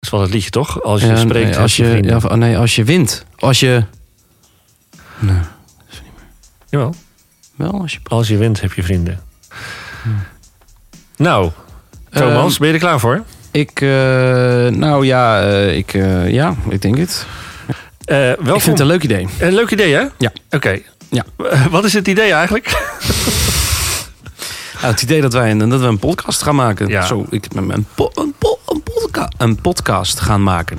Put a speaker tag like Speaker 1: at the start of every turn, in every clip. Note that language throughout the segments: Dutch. Speaker 1: is wel het liedje, toch? Als je
Speaker 2: Ja,
Speaker 1: spreekt
Speaker 2: Eh, nee,
Speaker 1: met
Speaker 2: als
Speaker 1: je,
Speaker 2: je,
Speaker 1: vrienden.
Speaker 2: ja, of- nee, als je wint. Als je... Nee,
Speaker 1: Jawel.
Speaker 2: wel als je...
Speaker 1: Als je wint, heb je vrienden. Nou, Thomas,
Speaker 2: Ehm,
Speaker 1: ben je er klaar voor?
Speaker 2: ik, eh, nou ja, eh, ik, eh, ja, ik denk het.
Speaker 1: Eh welkom.
Speaker 2: Ik vind het een leuk idee.
Speaker 1: Een leuk idee, hè?
Speaker 2: Ja.
Speaker 1: Oké.
Speaker 2: Ja.
Speaker 1: Eh, Wat is het idee eigenlijk?
Speaker 2: Nou, het idee dat wij een, dat we een podcast gaan maken.
Speaker 1: Ja.
Speaker 2: Zo, ik, een, po- een, po- een, podca- een podcast gaan maken.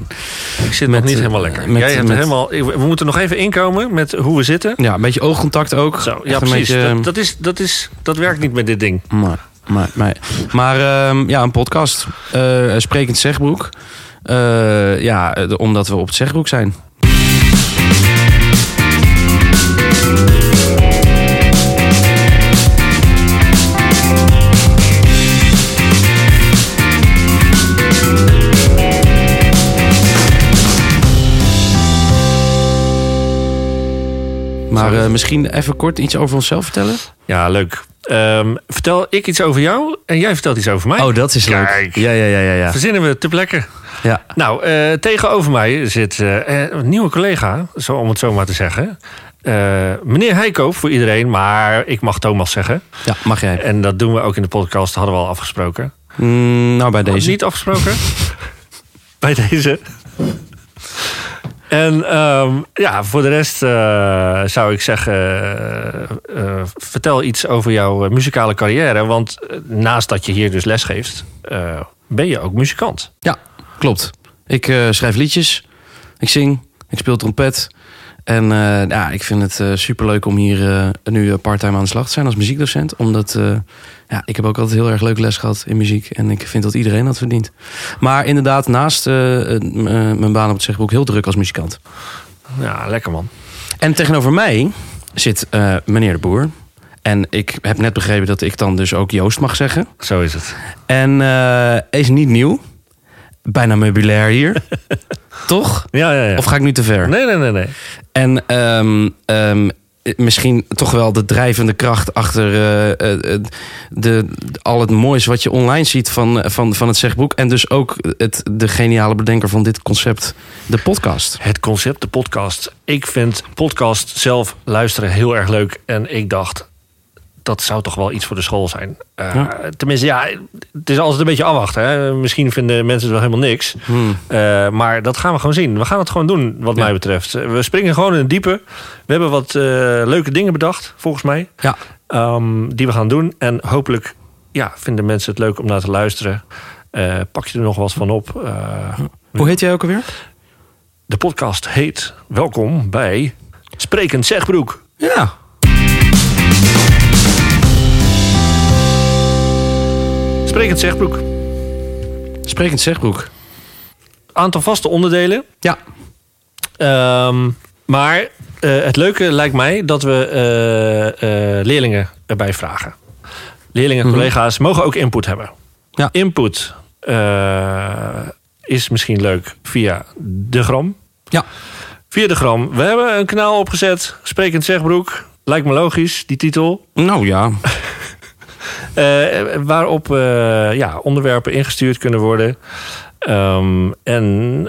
Speaker 1: Ik zit
Speaker 2: Met,
Speaker 1: nog niet
Speaker 2: eh,
Speaker 1: helemaal lekker.
Speaker 2: met-
Speaker 1: Jij hebt
Speaker 2: met-
Speaker 1: helemaal, we moeten nog even inkomen met hoe we zitten.
Speaker 2: Ja, een beetje oogcontact ook.
Speaker 1: Zo,
Speaker 2: Echt
Speaker 1: ja,
Speaker 2: een
Speaker 1: precies.
Speaker 2: beetje- ehm,
Speaker 1: dat, dat, is, dat, is, dat werkt niet met dit ding.
Speaker 2: Maar, maar, maar, maar ehm, ja, een podcast. Eh, sprekend Zegbroek. Eh, ja, eh, omdat we op het Zegbroek zijn. Maar eh, misschien even kort iets over onszelf vertellen?
Speaker 1: Ja, leuk. Ehm, vertel ik iets over jou en jij vertelt iets over mij.
Speaker 2: Oh, dat is leuk.
Speaker 1: Kijk.
Speaker 2: Ja, ja, ja, ja, ja.
Speaker 1: Verzinnen we te plekken.
Speaker 2: ja.
Speaker 1: Nou, eh, tegenover mij zit eh, eh, een nieuwe collega, zo, om het zo maar te zeggen. Eh, meneer Heikoop voor iedereen, maar ik mag Thomas zeggen.
Speaker 2: Ja, mag jij.
Speaker 1: En dat doen we ook in de podcast, hadden we al afgesproken.
Speaker 2: Mm, nou, bij deze.
Speaker 1: Niet afgesproken. Bij deze. En ehm, ja, voor de rest eh, zou ik zeggen, eh, eh, vertel iets over jouw eh, muzikale carrière. Want eh, naast dat je hier dus les geeft, eh, ben je ook muzikant.
Speaker 2: Ja, klopt. Ik eh, schrijf liedjes. Ik zing. Ik speel trompet. En eh, ja, ik vind het eh, superleuk om hier eh, nu eh, parttime aan de slag te zijn als muziekdocent. Omdat eh, ja, ik heb ook altijd heel erg leuk les gehad in muziek. En ik vind dat iedereen dat verdient. Maar inderdaad, naast eh, eh, m- eh, mijn baan op het zegboek heel druk als muzikant.
Speaker 1: Ja, lekker man.
Speaker 2: En tegenover mij zit eh, meneer de Boer. En ik heb net begrepen dat ik dan dus ook Joost mag zeggen.
Speaker 1: Zo is het.
Speaker 2: En eh, is niet nieuw. Bijna meubilair hier. toch?
Speaker 1: Ja, ja, ja.
Speaker 2: Of ga ik nu te ver?
Speaker 1: Nee, nee, nee, nee.
Speaker 2: En ehm, ehm, eh, misschien toch wel de drijvende kracht achter eh, eh, eh, de, al het moois wat je online ziet van, eh, van, van het zegboek. En dus ook het, de geniale bedenker van dit concept, de podcast.
Speaker 1: Het concept, de podcast. Ik vind podcast zelf luisteren heel erg leuk. En ik dacht, dat zou toch wel iets voor de school zijn. Eh,
Speaker 2: Ja.
Speaker 1: Tenminste, ja, het is altijd een beetje afwachten. Hè? Misschien vinden mensen het wel helemaal niks.
Speaker 2: Hmm.
Speaker 1: Eh, maar dat gaan we gewoon zien. We gaan het gewoon doen, wat
Speaker 2: Ja.
Speaker 1: mij betreft. We springen gewoon in het diepe. We hebben wat eh, leuke dingen bedacht, volgens mij.
Speaker 2: Ja.
Speaker 1: ehm, die we gaan doen. En hopelijk ja, vinden mensen het leuk om naar te luisteren. Eh, pak je er nog wat van op. Eh,
Speaker 2: Hoe heet jij ook alweer?
Speaker 1: de podcast heet Welkom bij Sprekend Zegbroek.
Speaker 2: Ja.
Speaker 1: Sprekend Zegbroek.
Speaker 2: Sprekend zegboek.
Speaker 1: Aantal vaste onderdelen.
Speaker 2: Ja.
Speaker 1: Ehm, maar eh, het leuke lijkt mij dat we eh, eh, leerlingen erbij vragen. Leerlingen en
Speaker 2: Mhm.
Speaker 1: collega's mogen ook input hebben.
Speaker 2: Ja.
Speaker 1: Input eh, is misschien leuk via de gram.
Speaker 2: Ja.
Speaker 1: Via de gram. We hebben een kanaal opgezet. Sprekend Zegbroek. Lijkt me logisch, die titel.
Speaker 2: Nou ja.
Speaker 1: Eh, waarop eh, ja, onderwerpen ingestuurd kunnen worden. Ehm, en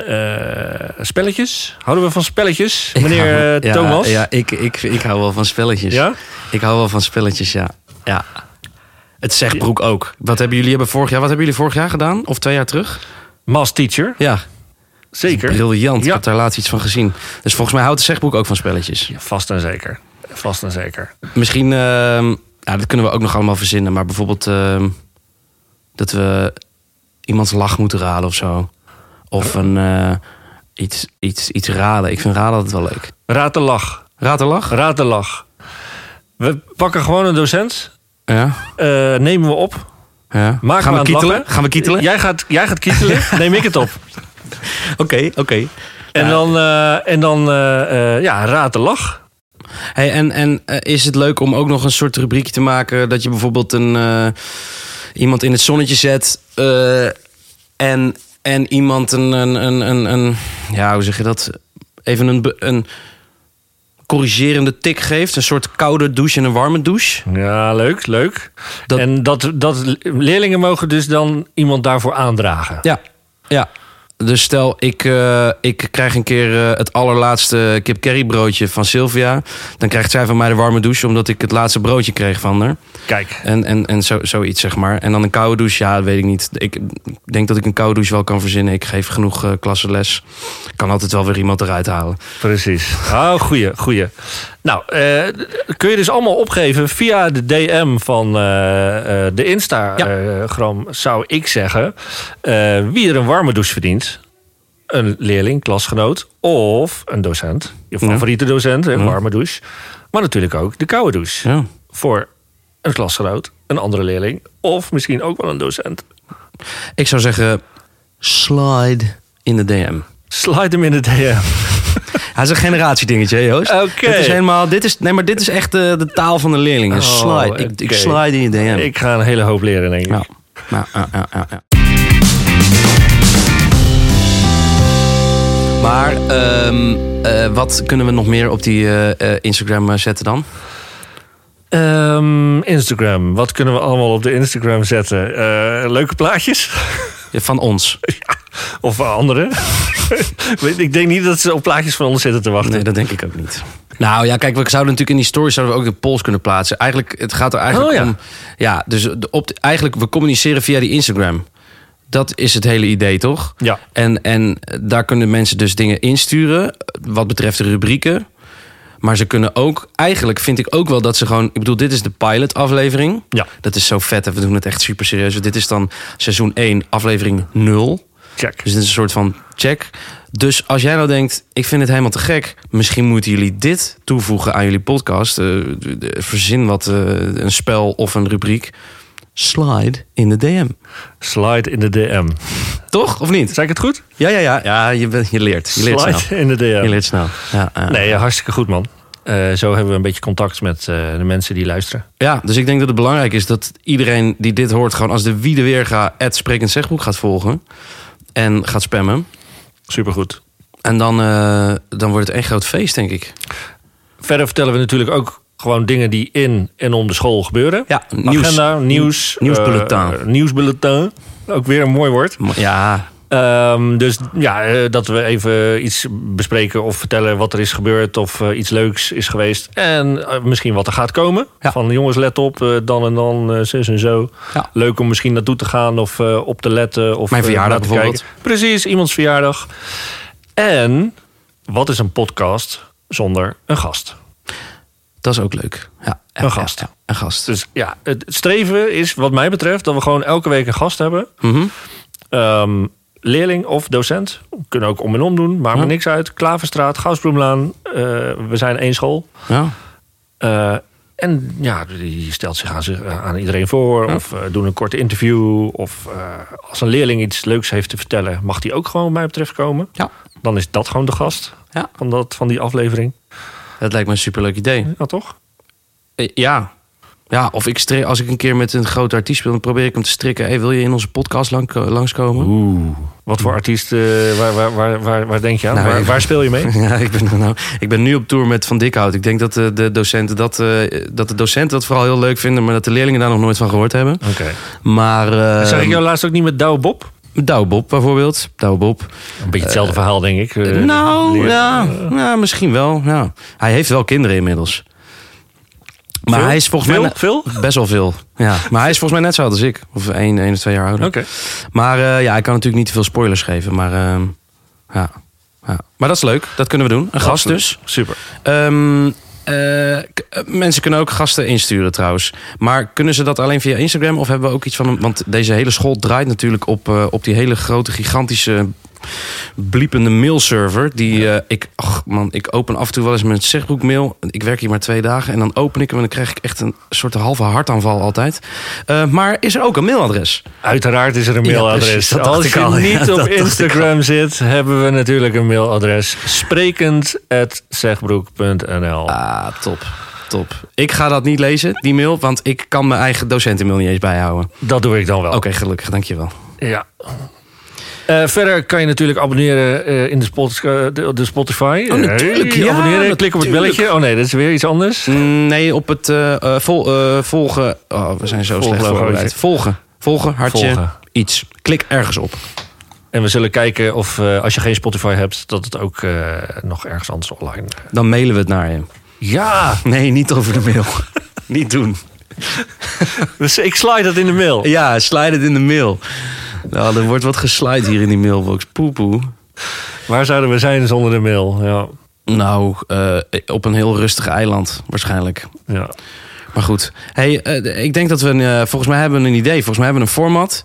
Speaker 1: eh, spelletjes. Houden we van spelletjes, meneer eh,
Speaker 2: Ja,
Speaker 1: Thomas?
Speaker 2: Ja, ik, ik, ik hou wel van spelletjes.
Speaker 1: Ja?
Speaker 2: Ik hou wel van spelletjes, ja. ja. Het zegt Broek ook. Wat hebben jullie hebben vorig jaar? Wat hebben jullie vorig jaar gedaan? Of twee jaar terug?
Speaker 1: Mas Teacher,
Speaker 2: Ja,
Speaker 1: zeker.
Speaker 2: briljant.
Speaker 1: Ja.
Speaker 2: Ik heb daar laatst iets van gezien. Dus volgens mij houdt de zegbroek ook van spelletjes.
Speaker 1: Ja, vast en zeker. Vast en zeker.
Speaker 2: Misschien, ehm, ja, dat kunnen we ook nog allemaal verzinnen. Maar bijvoorbeeld ehm, dat we iemands lach moeten raden of zo. Of een, eh, iets, iets, iets raden. Ik vind raden altijd wel leuk.
Speaker 1: Raad de lach.
Speaker 2: Raad de lach?
Speaker 1: Raad de lach. We pakken gewoon een docent.
Speaker 2: Ja.
Speaker 1: eh, nemen we op.
Speaker 2: ja.
Speaker 1: Maken
Speaker 2: Gaan
Speaker 1: we
Speaker 2: we
Speaker 1: aan het
Speaker 2: kietelen?
Speaker 1: lachen.
Speaker 2: Gaan we kietelen?
Speaker 1: Jij gaat, jij gaat kietelen. Neem ik het op.
Speaker 2: Oké, oké.
Speaker 1: En
Speaker 2: Ja.
Speaker 1: dan, eh, en dan eh, eh, ja, raad de lach.
Speaker 2: Hey, en en eh, is het leuk om ook nog een soort rubriekje te maken dat je bijvoorbeeld een, eh, iemand in het zonnetje zet eh, en, en iemand een, een, een, een, een, ja, hoe zeg je dat? Even een, be- een corrigerende tik geeft, een soort koude douche en een warme douche.
Speaker 1: Ja, leuk, leuk.
Speaker 2: Dat-
Speaker 1: En dat, dat leerlingen mogen dus dan iemand daarvoor aandragen.
Speaker 2: Ja, ja. Dus stel, ik, eh, ik krijg een keer eh, het allerlaatste kip curry broodje van Sylvia. Dan krijgt zij van mij de warme douche, omdat ik het laatste broodje kreeg van haar.
Speaker 1: Kijk,
Speaker 2: En, en, en zo, zoiets, zeg maar. En dan een koude douche, ja, dat weet ik niet. Ik denk dat ik een koude douche wel kan verzinnen. Ik geef genoeg eh klassenles. Ik kan altijd wel weer iemand eruit halen.
Speaker 1: precies. Oh, goeie, goeie. Nou, eh, kun je dus allemaal opgeven via de DM van eh, eh, de
Speaker 2: Ja.
Speaker 1: Instagram, zou ik zeggen. Eh, wie er een warme douche verdient. Een leerling, klasgenoot of een docent. Je
Speaker 2: Ja. Mhm.
Speaker 1: favoriete docent, een
Speaker 2: Ja.
Speaker 1: warme douche. Maar natuurlijk ook de koude douche.
Speaker 2: Ja.
Speaker 1: voor een klasgenoot, een andere leerling of misschien ook wel een docent.
Speaker 2: Ik zou zeggen, slide in de DM.
Speaker 1: Slide hem in de DM.
Speaker 2: Hij is een generatiedingetje, hè, Joost.
Speaker 1: Oké.
Speaker 2: Dit is helemaal, dit is, nee, maar dit is echt de, de taal van de leerlingen.
Speaker 1: Oh,
Speaker 2: slide. Ik, ik
Speaker 1: oké.
Speaker 2: slide in je DM.
Speaker 1: Ik ga een hele hoop leren, denk ik.
Speaker 2: Ja. Ja, ja, ja, ja, ja. Maar ehm, eh, wat kunnen we nog meer op die eh, eh, Instagram eh, zetten dan?
Speaker 1: Ehm, Instagram. Wat kunnen we allemaal op de Instagram zetten? Eh, leuke plaatjes?
Speaker 2: Ja, Van ons.
Speaker 1: Of andere? Weet- ik denk niet dat ze op plaatjes van ons zitten te wachten.
Speaker 2: Nee, dat denk ik ook niet. Nou ja, kijk, we zouden natuurlijk in die stories zouden we ook de polls kunnen plaatsen. Eigenlijk, het gaat er eigenlijk
Speaker 1: Oh, ja.
Speaker 2: om... Ja, dus de, op de- eigenlijk, we communiceren via die Instagram. Dat is het hele idee, toch?
Speaker 1: Ja.
Speaker 2: En, en daar kunnen mensen dus dingen insturen wat betreft de rubrieken. Maar ze kunnen ook, eigenlijk vind ik ook wel dat ze gewoon... Ik bedoel, dit is de pilot-aflevering.
Speaker 1: Ja,
Speaker 2: Dat is zo vet en we doen het echt super serieus. Dit is dan seizoen 1, aflevering 0.
Speaker 1: check.
Speaker 2: Dus dit is een soort van check. Dus als jij nou denkt, ik vind het helemaal te gek. Misschien moeten jullie dit toevoegen aan jullie podcast. Eh, de- de- verzin wat, eh, een spel of een rubriek. Slide in de DM.
Speaker 1: Slide in de DM.
Speaker 2: Toch? Of niet?
Speaker 1: Zeg ik het goed?
Speaker 2: Ja, ja, ja. Ja, je, bent- je leert. Je leert snel.
Speaker 1: Slide in de DM.
Speaker 2: Je leert nou. snel. Ja, ja.
Speaker 1: Nee, hartstikke goed, man. Eh, zo hebben we een beetje contact met eh, de mensen die luisteren.
Speaker 2: ja, dus ik denk dat het belangrijk is dat iedereen die dit hoort... gewoon als de wie de weerga het sprekend zegboek gaat volgen... en gaat spammen.
Speaker 1: Supergoed.
Speaker 2: En dan, eh, dan wordt het één groot feest, denk ik.
Speaker 1: Verder vertellen we natuurlijk ook gewoon dingen die in en om de school gebeuren.
Speaker 2: Ja, nieuws.
Speaker 1: Agenda, nieuws.
Speaker 2: Nieuwsbulletin.
Speaker 1: eh, eh, nieuwsbulletin. Ook weer een mooi woord.
Speaker 2: Ja,
Speaker 1: Ehm, dus ja, eh, dat we even iets bespreken of vertellen wat er is gebeurd. Of eh, iets leuks is geweest. En eh, misschien wat er gaat komen.
Speaker 2: Ja.
Speaker 1: Van jongens, let op. eh, dan en dan, eh, zus en zo.
Speaker 2: Ja.
Speaker 1: Leuk om misschien naartoe te gaan of eh, op te letten. Of,
Speaker 2: Mijn
Speaker 1: eh,
Speaker 2: verjaardag
Speaker 1: na te kijken.
Speaker 2: bijvoorbeeld.
Speaker 1: Precies, iemands verjaardag. En wat is een podcast zonder een gast?
Speaker 2: Dat is ook leuk. Ja,
Speaker 1: Een
Speaker 2: ja,
Speaker 1: gast.
Speaker 2: ja, een gast.
Speaker 1: Dus ja, het streven is wat mij betreft dat we gewoon elke week een gast hebben.
Speaker 2: Mhm.
Speaker 1: Ehm, leerling of docent. Kunnen ook om en om doen, maakt me
Speaker 2: Ja.
Speaker 1: niks uit. Klaverstraat, Gausbloemlaan, eh, we zijn één school.
Speaker 2: ja.
Speaker 1: Eh, en ja, die stelt zich aan, zich, eh, aan iedereen voor. Of eh, doen een korte interview. Of eh, als een leerling iets leuks heeft te vertellen, mag die ook gewoon wat mij betreft komen.
Speaker 2: Ja.
Speaker 1: Dan is dat gewoon de gast
Speaker 2: Ja.
Speaker 1: van, dat, van die aflevering.
Speaker 2: Dat lijkt me een superleuk idee.
Speaker 1: Ja, toch?
Speaker 2: Eh, Ja. Ja, of ik stre- als ik een keer met een groot artiest speel, dan probeer ik hem te strikken. Hey, wil je in onze podcast lang- langskomen?
Speaker 1: Oeh. Wat voor artiest, eh, waar, waar, waar, waar, waar denk je aan?
Speaker 2: Nou,
Speaker 1: waar,
Speaker 2: ik-
Speaker 1: waar speel je mee?
Speaker 2: Ja, ik ben, nou, ik ben nu op tour met Van Dikhout. Ik denk dat de, de docenten dat, eh, dat de docenten dat vooral heel leuk vinden, maar dat de leerlingen daar nog nooit van gehoord hebben.
Speaker 1: Oké.
Speaker 2: Maar eh,
Speaker 1: Zag ik jou laatst ook niet met Douwe Bob?
Speaker 2: Douwe Bob bijvoorbeeld. Douwe Bob.
Speaker 1: Een beetje hetzelfde verhaal, denk ik. Eh,
Speaker 2: nou,
Speaker 1: leer-
Speaker 2: ja, ja, misschien wel. Ja. Hij heeft wel kinderen inmiddels. Maar
Speaker 1: Veel?
Speaker 2: hij is volgens
Speaker 1: veel,
Speaker 2: mij...
Speaker 1: Veel?
Speaker 2: Best wel veel. Ja. Maar hij is volgens mij net zo oud als ik. Of één, één of twee jaar ouder.
Speaker 1: Oké.
Speaker 2: Maar eh, ja, ik kan natuurlijk niet te veel spoilers geven. Maar, eh, ja. Ja. maar dat is leuk. Dat kunnen we doen. Een gast
Speaker 1: Absoluut.
Speaker 2: dus.
Speaker 1: Super.
Speaker 2: Ehm, eh, k- eh, mensen kunnen ook gasten insturen trouwens. Maar kunnen ze dat alleen via Instagram? Of hebben we ook iets van... een- Want deze hele school draait natuurlijk op, eh, op die hele grote, gigantische... bliepende mailserver. Die eh, ik... Ach man, ik open af en toe wel eens mijn zegbroek mail. Ik werk hier maar twee dagen. En dan open ik hem en dan krijg ik echt een soort halve hartaanval altijd. Eh, maar is er ook een mailadres?
Speaker 1: Uiteraard is er een
Speaker 2: Ja,
Speaker 1: mailadres.
Speaker 2: precies, dat dacht
Speaker 1: Als
Speaker 2: ik
Speaker 1: je
Speaker 2: al. Ja,
Speaker 1: niet
Speaker 2: dat
Speaker 1: op
Speaker 2: dacht ik
Speaker 1: Instagram zit, hebben we natuurlijk een mailadres. Sprekend.zegbroek.nl
Speaker 2: Ah, top. Top. Ik ga dat niet lezen, die mail. Want ik kan mijn eigen docentenmail niet eens bijhouden.
Speaker 1: Dat doe ik dan wel.
Speaker 2: Oké, gelukkig. Dankjewel.
Speaker 1: Ja. Eh, verder kan je natuurlijk abonneren eh, in de, spot, eh, de, de Spotify.
Speaker 2: Oh, natuurlijk,
Speaker 1: Eh,
Speaker 2: ja,
Speaker 1: abonneren, klik op het
Speaker 2: natuurlijk.
Speaker 1: belletje. Oh nee, dat is weer iets anders.
Speaker 2: Mm, Nee, op het eh, eh, vol, eh, volgen. Oh, we zijn zo
Speaker 1: Volgen,
Speaker 2: slecht voorbereid.
Speaker 1: logootje.
Speaker 2: Volgen. Volgen, hartje.
Speaker 1: Volgen.
Speaker 2: Iets. Klik ergens op.
Speaker 1: En we zullen kijken of eh, als je geen Spotify hebt, dat het ook eh, nog ergens anders online. eh.
Speaker 2: Dan mailen we het naar je.
Speaker 1: Ja,
Speaker 2: Nee, niet over de mail. niet doen.
Speaker 1: dus ik slide dat in de mail.
Speaker 2: Ja, slide het in de mail. Nou, er wordt wat geslide hier in die mailbox. Poepoe.
Speaker 1: Waar zouden we zijn zonder de mail? Ja,
Speaker 2: Nou, eh, op een heel rustig eiland waarschijnlijk.
Speaker 1: ja.
Speaker 2: Maar goed. Hey, eh, d- ik denk dat we een, eh, volgens mij hebben we een idee. Volgens mij hebben we een format.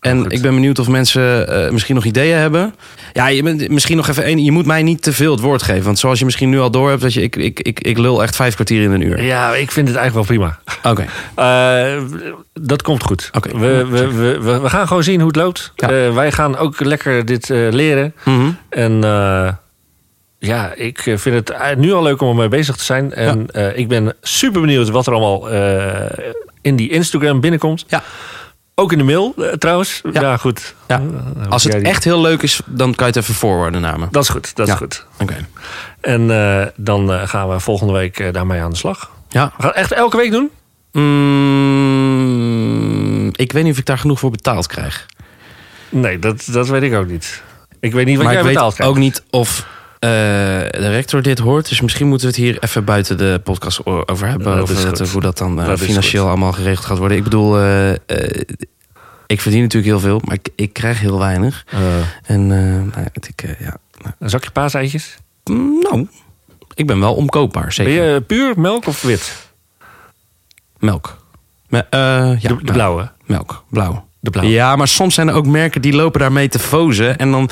Speaker 2: En
Speaker 1: Goed.
Speaker 2: ik ben benieuwd of mensen eh, misschien nog ideeën hebben. Ja, je bent misschien nog even één. Je moet mij niet te veel het woord geven. Want zoals je misschien nu al door hebt, dat je, ik, ik, ik, ik lul echt vijf kwartier in een uur.
Speaker 1: ja ik vind het eigenlijk wel prima.
Speaker 2: Oké.
Speaker 1: Eh, dat komt goed.
Speaker 2: Oké.
Speaker 1: We, we, we, we, we gaan gewoon zien hoe het loopt.
Speaker 2: Ja.
Speaker 1: Eh, wij gaan ook lekker dit eh, leren.
Speaker 2: Mhm.
Speaker 1: En eh, ja, ik eh, vind het eh, nu al leuk om ermee bezig te zijn. En eh, ik ben super benieuwd wat er allemaal eh, in die Instagram binnenkomt.
Speaker 2: Ja.
Speaker 1: Ook in de mail eh, trouwens. Ja,
Speaker 2: Ja.
Speaker 1: goed.
Speaker 2: Ja.
Speaker 1: Eh, dan
Speaker 2: Als
Speaker 1: hoef
Speaker 2: het
Speaker 1: jij die-
Speaker 2: echt heel leuk is, dan kan je het even voorwaarden namen.
Speaker 1: Dat is goed, dat
Speaker 2: Ja.
Speaker 1: is goed.
Speaker 2: Oké.
Speaker 1: En eh, dan eh, gaan we volgende week eh, daarmee aan de slag.
Speaker 2: Ja.
Speaker 1: We gaan echt elke week doen.
Speaker 2: Mm, ik weet niet of ik daar genoeg voor betaald krijg.
Speaker 1: Nee, dat, dat weet ik ook niet. Ik weet niet wat
Speaker 2: maar
Speaker 1: jij
Speaker 2: ik weet
Speaker 1: betaald krijgt.
Speaker 2: ook niet of eh, de rector dit hoort. Dus misschien moeten we het hier even buiten de podcast o- over hebben.
Speaker 1: Dat
Speaker 2: of
Speaker 1: is
Speaker 2: het,
Speaker 1: goed.
Speaker 2: eh, hoe dat dan eh,
Speaker 1: Dat is
Speaker 2: financieel
Speaker 1: goed.
Speaker 2: allemaal geregeld gaat worden. Ik bedoel, eh, eh, ik verdien natuurlijk heel veel, maar ik, ik krijg heel weinig.
Speaker 1: Eh,
Speaker 2: En eh, nou, het- ik, eh, ja.
Speaker 1: een zakje paaseitjes.
Speaker 2: Mm, nou, ik ben wel omkoopbaar,
Speaker 1: Ben
Speaker 2: zeker.
Speaker 1: je eh, puur melk of wit?
Speaker 2: Melk. Me- eh, ja,
Speaker 1: de, de
Speaker 2: melk.
Speaker 1: blauwe.
Speaker 2: Melk, blauw.
Speaker 1: De blauwe.
Speaker 2: Ja, maar soms zijn er ook merken die lopen daarmee te fozen. En dan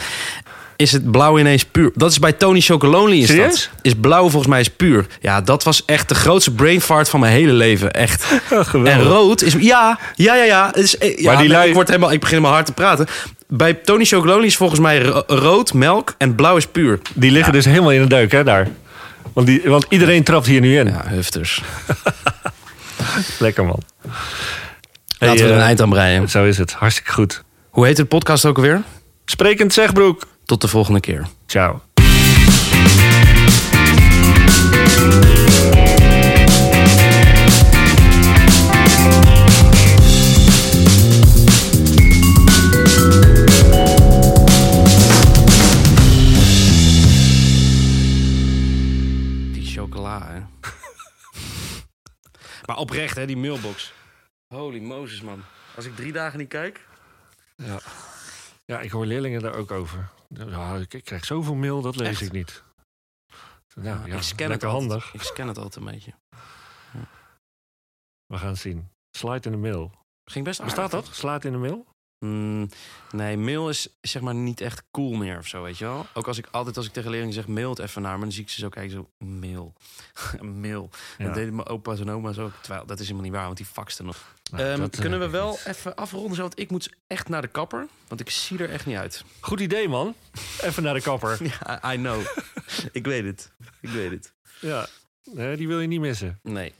Speaker 2: is het blauw ineens puur. Dat is bij Tony Chocolonely is
Speaker 1: Serieus?
Speaker 2: dat. Is blauw volgens mij is puur. Ja, dat was echt de grootste brain fart van mijn hele leven. Echt. En rood is... Ja, ja, ja, ja. Het is, eh, ja
Speaker 1: Oh, die
Speaker 2: nee,
Speaker 1: lui-
Speaker 2: ik, word helemaal, ik begin helemaal hard te praten. Bij Tony Chocolonely is volgens mij ro- rood, melk en blauw is puur.
Speaker 1: Die liggen dus helemaal in de deuk, hè, daar. Want, die, want iedereen trapt hier nu in.
Speaker 2: Ja, hufters.
Speaker 1: Lekker, man. Hey,
Speaker 2: Laten we er een
Speaker 1: eh,
Speaker 2: eind aan breien.
Speaker 1: Zo is het. Hartstikke goed.
Speaker 2: Hoe heet de podcast ook alweer?
Speaker 1: Sprekend Zegbroek.
Speaker 2: Tot de volgende keer.
Speaker 1: Ciao.
Speaker 2: Die chocola, hè. maar oprecht, hè, die mailbox. Holy Moses, man. Als ik drie dagen niet kijk...
Speaker 1: Ja, ik hoor leerlingen daar ook over. Ja, ik, ik krijg zoveel mail, dat lees
Speaker 2: Echt?
Speaker 1: ik niet. Nou, ja,
Speaker 2: ik scan het
Speaker 1: lekker
Speaker 2: altijd.
Speaker 1: handig.
Speaker 2: Ik scan het altijd een beetje.
Speaker 1: We gaan het zien. Slide in de mail.
Speaker 2: Ging best aardig,
Speaker 1: Bestaat dat?
Speaker 2: toch?
Speaker 1: Slaat in de mail?
Speaker 2: Mm, nee, mail is zeg maar niet echt cool meer of zo, weet je wel? Ook als ik altijd als ik tegen leerlingen zeg, mail het even naar me. Dan zie ik ze zo kijken, zo, mail. mail.
Speaker 1: Ja.
Speaker 2: En Dat deden mijn opa's en oma's ook. Terwijl, dat is helemaal niet waar, want die faxten nog.
Speaker 1: Nou,
Speaker 2: Ehm,
Speaker 1: dat, eh,
Speaker 2: kunnen we wel
Speaker 1: niet.
Speaker 2: even afronden, zo, want ik moet echt naar de kapper. Want ik zie er echt niet uit.
Speaker 1: Goed idee, man. Even naar de kapper.
Speaker 2: Ja, I know. ik weet het. Ik weet het.
Speaker 1: Ja, Nee, die wil je niet missen.
Speaker 2: Nee.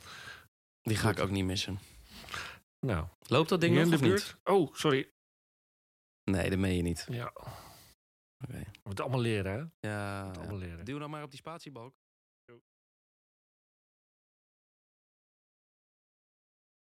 Speaker 2: Die ga ik ook niet missen.
Speaker 1: Nou,
Speaker 2: Loopt dat ding
Speaker 1: hier
Speaker 2: nog
Speaker 1: in de
Speaker 2: of
Speaker 1: buurt? Oh, sorry.
Speaker 2: niet? Nee, dat meen je niet.
Speaker 1: Ja, we
Speaker 2: Oké.
Speaker 1: moeten allemaal leren, hè?
Speaker 2: Ja,
Speaker 1: Allemaal leren.
Speaker 2: Duw dan maar op die spatiebalk.